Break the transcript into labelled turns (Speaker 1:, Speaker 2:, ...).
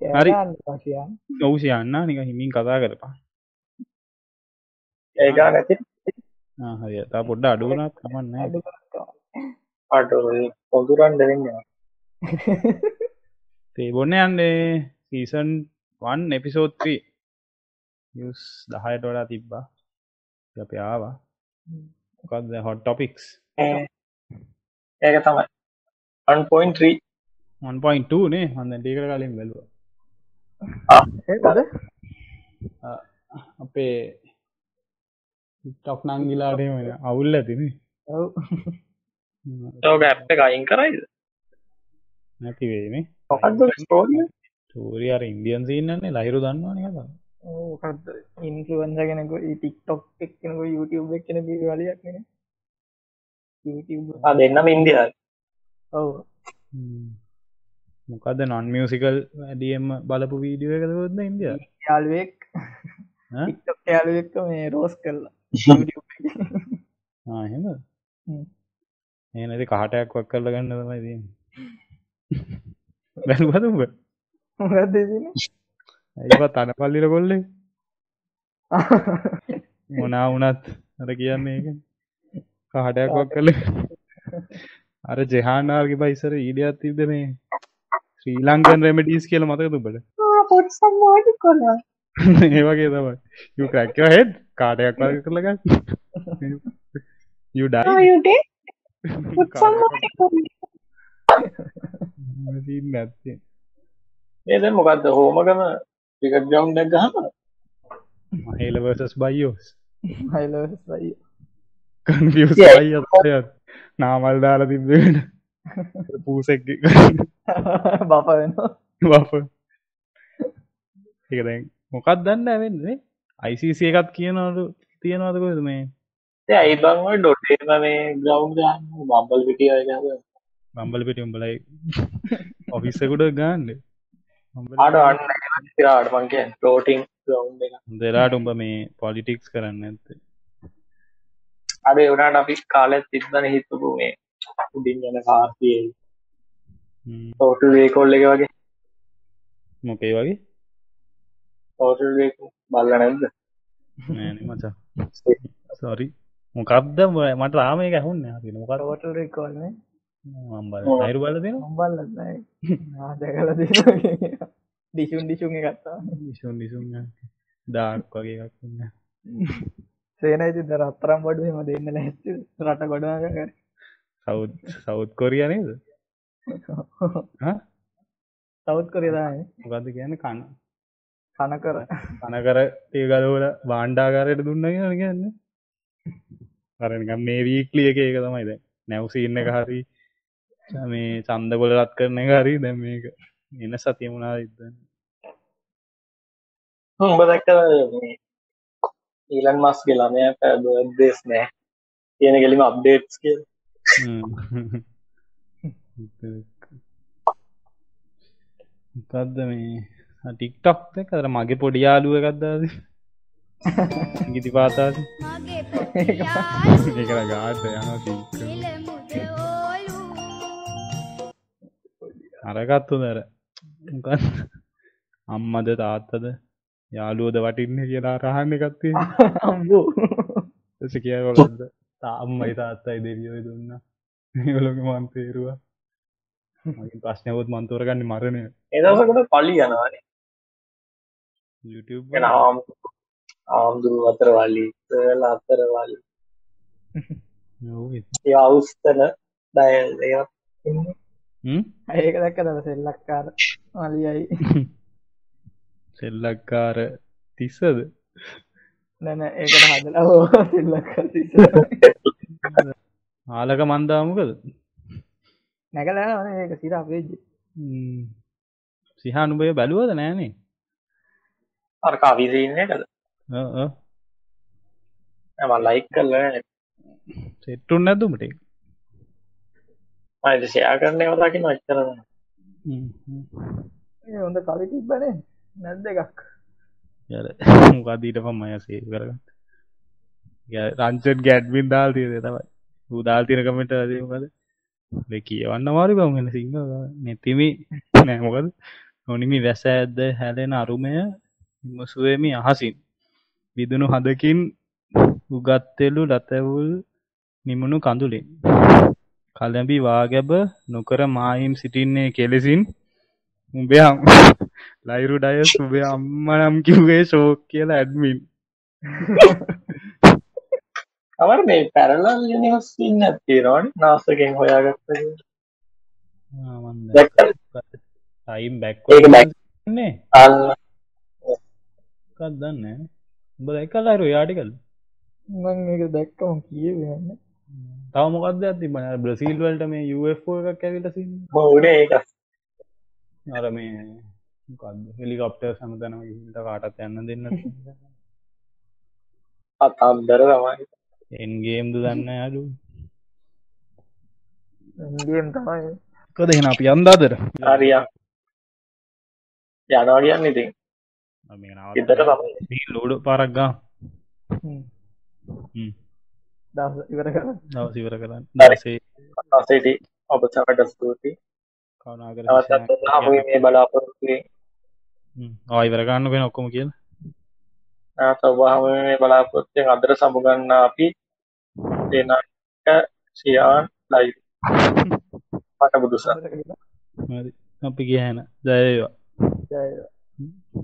Speaker 1: හරි.
Speaker 2: කියන්න
Speaker 1: ඔව් සියන්න නික හිමින් කතා කරපා
Speaker 3: ඒ ගාන ඇති
Speaker 1: ආ, හරි තා පොඩ්ඩ අඩු වුණත් කමන්නේ
Speaker 2: අඩු කරනවා.
Speaker 3: අට පොදුරන් දෙවෙන්නේ
Speaker 1: තේ බොන්න යන්නේ සීසන් 1 එපිසෝඩ් 3 නිවුස් 10ට වඩා තිබ්බා ඉතින් අපි ආවා
Speaker 2: හ්ම්.
Speaker 1: මොකද්ද hot topics
Speaker 3: ඒක තමයි අන් පොයින් ත්‍රී
Speaker 1: 1.2 නේ මම දැන් ටීකට කලින් බැලුවා
Speaker 2: ඒකද
Speaker 1: අපේ ටික්ටොක් නංගිලාට එහෙම නේ, අවුල් ඇතිනේ
Speaker 2: ඔව්
Speaker 3: තෝක ඇප් එක අයින් කරයිද
Speaker 1: නැති වෙයි නේ
Speaker 3: මොකක්ද ස්ටෝරිය
Speaker 1: ස්ටෝරි අර ඉන්දියන් සීන් නන්නේ ලයිරු දන්නවනේ නේද
Speaker 2: ඕකත් ඉන්ෆලුවන්ස කෙනක ටික්ටොක් එක් කෙනක YouTube එක් කෙන බිරි වලයක් නෙන YouTube
Speaker 3: ආ දෙන්නම ඉන්දියාව
Speaker 2: ඔව්
Speaker 1: හ්ම්. මොකද නොන් මියසිකල් වැඩියම් බලපු වීඩියෝ එකද කොද්ද ඉන්දිය
Speaker 2: යාලුවෙක්
Speaker 1: ඈ?
Speaker 2: ටික්ටොක් යාලුවෙක්ක මේ රෝස් කල්ලා
Speaker 1: හෙම
Speaker 2: හ්ම්.
Speaker 1: ඒනති කහටයක් වක් කරල ගන්න තමයි දී බැලුවතුඹ
Speaker 2: මොකක්ද දෙන
Speaker 1: ඇයිපත් අන පල්ලිර කොල්ලේ මොනා වුනත් අර කියන්නේ එක කහටයක් වක් කරල අර ජෙහානාර්ග බයිසර ඊඩියත් තිබ්ද මේ ශ්‍රී ලංකන් රෙමඩීස් කියල මතක තුබට
Speaker 3: පොත්සම්මෝටි කොල්ල
Speaker 1: ඒවගේ තමයි ය කරැක්කව හෙත් කාටයක් වග කරලගන්න යුඩා
Speaker 4: ආයුටේ
Speaker 1: නැත්තේ
Speaker 3: ඒද මොකක්ද හෝමගම ටිකට් ගවන්් ඩක් ගහම
Speaker 1: මහේලවර්සස් බයිෝස්
Speaker 2: හයිලස් වයි
Speaker 1: කන්ියස්
Speaker 3: Yeah.
Speaker 1: අයත් නාමල් දාලා තිබ්බෙන පූසෙක්
Speaker 2: බප වෙනවා
Speaker 1: බප එකදැන් මොකක් දන්න ඇවෙන්නේ අයිසිසිය එකත් කියනවලු තියෙනවදකොද මේ
Speaker 3: ඇයිබංව ඩොටේම මේ ග්‍රවන්් ගහන්න බම්බල් විටිය ගහ
Speaker 1: බම්බල පිටි උඹලයි ඔෆිස්සකුට ගාන්න
Speaker 3: අඩ අන්න රාඩමන්ගේ රෝටිං ග්‍රවන්් එක
Speaker 1: දෙලාට උඹ මේ පොලිටික්ස් කරන්න ඇත්තේ
Speaker 3: අඩ එවනාට අපි කාලෙත් තිබන හිතපු මේ උඩින් යන කාර්තියේ
Speaker 1: හ්ම්.
Speaker 3: තෝටල් වේකොල්ල එක වගේ
Speaker 1: මොකේ වගේ
Speaker 3: තෝටල් වේ බල්ල නැද්ද
Speaker 1: නෑන මචා සොරි මොකක්ද උඹ- මට රාමය ඇහුන්න තින මොකර
Speaker 2: රෝටල් රෙකෝල්නේ
Speaker 1: මම්බල අයිරු බල දෙෙන
Speaker 2: උඹල්ල නෑ ආදකල දෙ ඩිසුන් ඩිසුන් එකත්තා
Speaker 1: නිසුන් නිසුන් ඩාක් වගේ එකක්න්න
Speaker 2: සේනයිති දර අතරම් බඩු හෙම දෙන්න නැත්තු රට ගොඩාග කර
Speaker 1: සෞ් සෞද් කොරියනේද හා?
Speaker 2: සෞද් කොරියදායි
Speaker 1: මොකද කියන කන
Speaker 2: කන කර
Speaker 1: කනකර ඒගලවල බාණ්ඩාකාරයට දුන්න කියෙන කියන්න අරනිකම් මේ වීක්ලිය එක ඒක තමයිද නැවසින්න එක හරි මේ සන්දකොල රත් කරන එක හරි දැම් මේක එන සතියමුණනා ඉදන්න
Speaker 3: උඹ දැක්ක මේ ඊලන් මස් ගෙලාමය පැබදෙස් නෑ තියෙන ගෙලිම අප්ඩේට්ස් කිය
Speaker 1: මොකක්ද මේ ටික්ටොක් කර මගේ පොඩි යාලුව ගත්දාද ගිති පාතාද
Speaker 4: මගේ පොතියා
Speaker 1: ඒකර ගාට යන
Speaker 4: නිල මුද ඕලු
Speaker 1: අරගත්තු දර අම්මද තාත්තද යාලුවද වටින්න කියලා රහන්න එකත්තේ
Speaker 2: අම්බූ
Speaker 1: ඇස කියවලද තාම්මයි තාත්තයි දෙවියෝය දුන්න ඒවලක මන්තේරුවා මගේ ප්‍රශ්නයකොත් මන්තෝරගන්න මරණය
Speaker 3: එදසකට පලි යනවාන
Speaker 1: YouTube
Speaker 3: ගෙන ආම් ආම්දුරු අතර වල්ලි සල අතර වල්ලි
Speaker 1: ඔව් ඒ-
Speaker 3: ඒ අවස්තන ඩයල් ඒ
Speaker 1: හ්ම්?
Speaker 2: ඒක දැක්ක දර සෙල්ලක්කාර මලියයි
Speaker 1: සෙල්ලක්කාර තිස්සද
Speaker 2: නැන ඒකට හදලා හෝ සෙල්ලක්ක
Speaker 1: ආලක මන්දාමකද
Speaker 2: නැකලන ඒක සිර අපේ
Speaker 1: සිහානුභය බැලුවද නෑනේ
Speaker 3: අර කවිදන්න කද
Speaker 1: ඔව් ඔව්.
Speaker 3: ඇම ලයික් කරල
Speaker 1: සෙට්ටුන් නැතුමට
Speaker 3: මද ෂයා කරන වතාකින අච්චරන
Speaker 2: ඒ හොඳ කලි තිබ්බන නැද්ද එකක්
Speaker 1: මොකදීට පම් අය සේ කරගත් ය- රංචට් ගැඩ්වින් දාල් තියද තමයි උදාල් තිරකමට අදකද කියවන්න මාරි බවගෙන සිංහ නැතිමි නෑමොකද නොනිමි වැස ඇද්ද හැලෙන අරුමය විමසුවමි අහසින් විදුණු හදකින් උගත්තෙලු ලතැවුල් නිමුණු කඳුලින් කලඹි වාගැබ නොකර මායිම් සිටින්නේ කෙලෙසින් උඹේ අම්- ලයිරු ඩය සුබේ අම්ම නම් කිව්වේ ශෝක් කියලා ඇඩ්මින්
Speaker 3: කවර මේ පැරලල් යනිවස් ඉන්න තිරෝන් නාසකෙන් හොයාගත්ත දැක්ක
Speaker 1: ටයිම්
Speaker 3: ඒක
Speaker 1: බැක්වන්නේ
Speaker 3: back. අන්න
Speaker 1: කක් දන්න උඹ දැකල් අරු යාටිකල්
Speaker 2: මම මේක දැක්කම කියේ වෙන
Speaker 1: තව මොකක්ද ඇති බන බ්‍රසිල් වලට මේ යුෝ එකක් ඇවිලසින්න
Speaker 3: මොහුනේ ඒක
Speaker 1: අර මේ මොකක්ද හෙලිකොප්ටර් සමතනම ගිහිල්ලා කාටත් යන්න දෙන්න
Speaker 3: අතම්දර තමයි
Speaker 1: එන්ගේම් දු දන්න අඩු
Speaker 2: ගේම් තමයි
Speaker 1: කද එහෙන අපි අන්දාදර
Speaker 3: හරියක් යනවා කියන්න ඉතින් ඉදට තමයි
Speaker 1: ලෝඩ පරක්ගා
Speaker 2: හ්ම්. දවස ඉවර කරලා
Speaker 1: දවසිවර කරන්න
Speaker 3: හරි.
Speaker 1: දසේ
Speaker 3: අසේට ඔබ සමට ස්තුති
Speaker 1: කවනාගර
Speaker 3: නවතත් හමු මේ බලාපොරොත්තුවේ
Speaker 1: ආයිවරගන්න වෙන ඔක්කොම කියල
Speaker 3: සවහම මේ බලාපොත්තිෙන් අදර සමුගන්න අපි දෙනට ශයාන් ලයි පට බුදුසා
Speaker 2: ඉවර කරලා
Speaker 1: අපි කියහැන ජයවා
Speaker 2: ජය වේවා.
Speaker 1: Mm-hmm.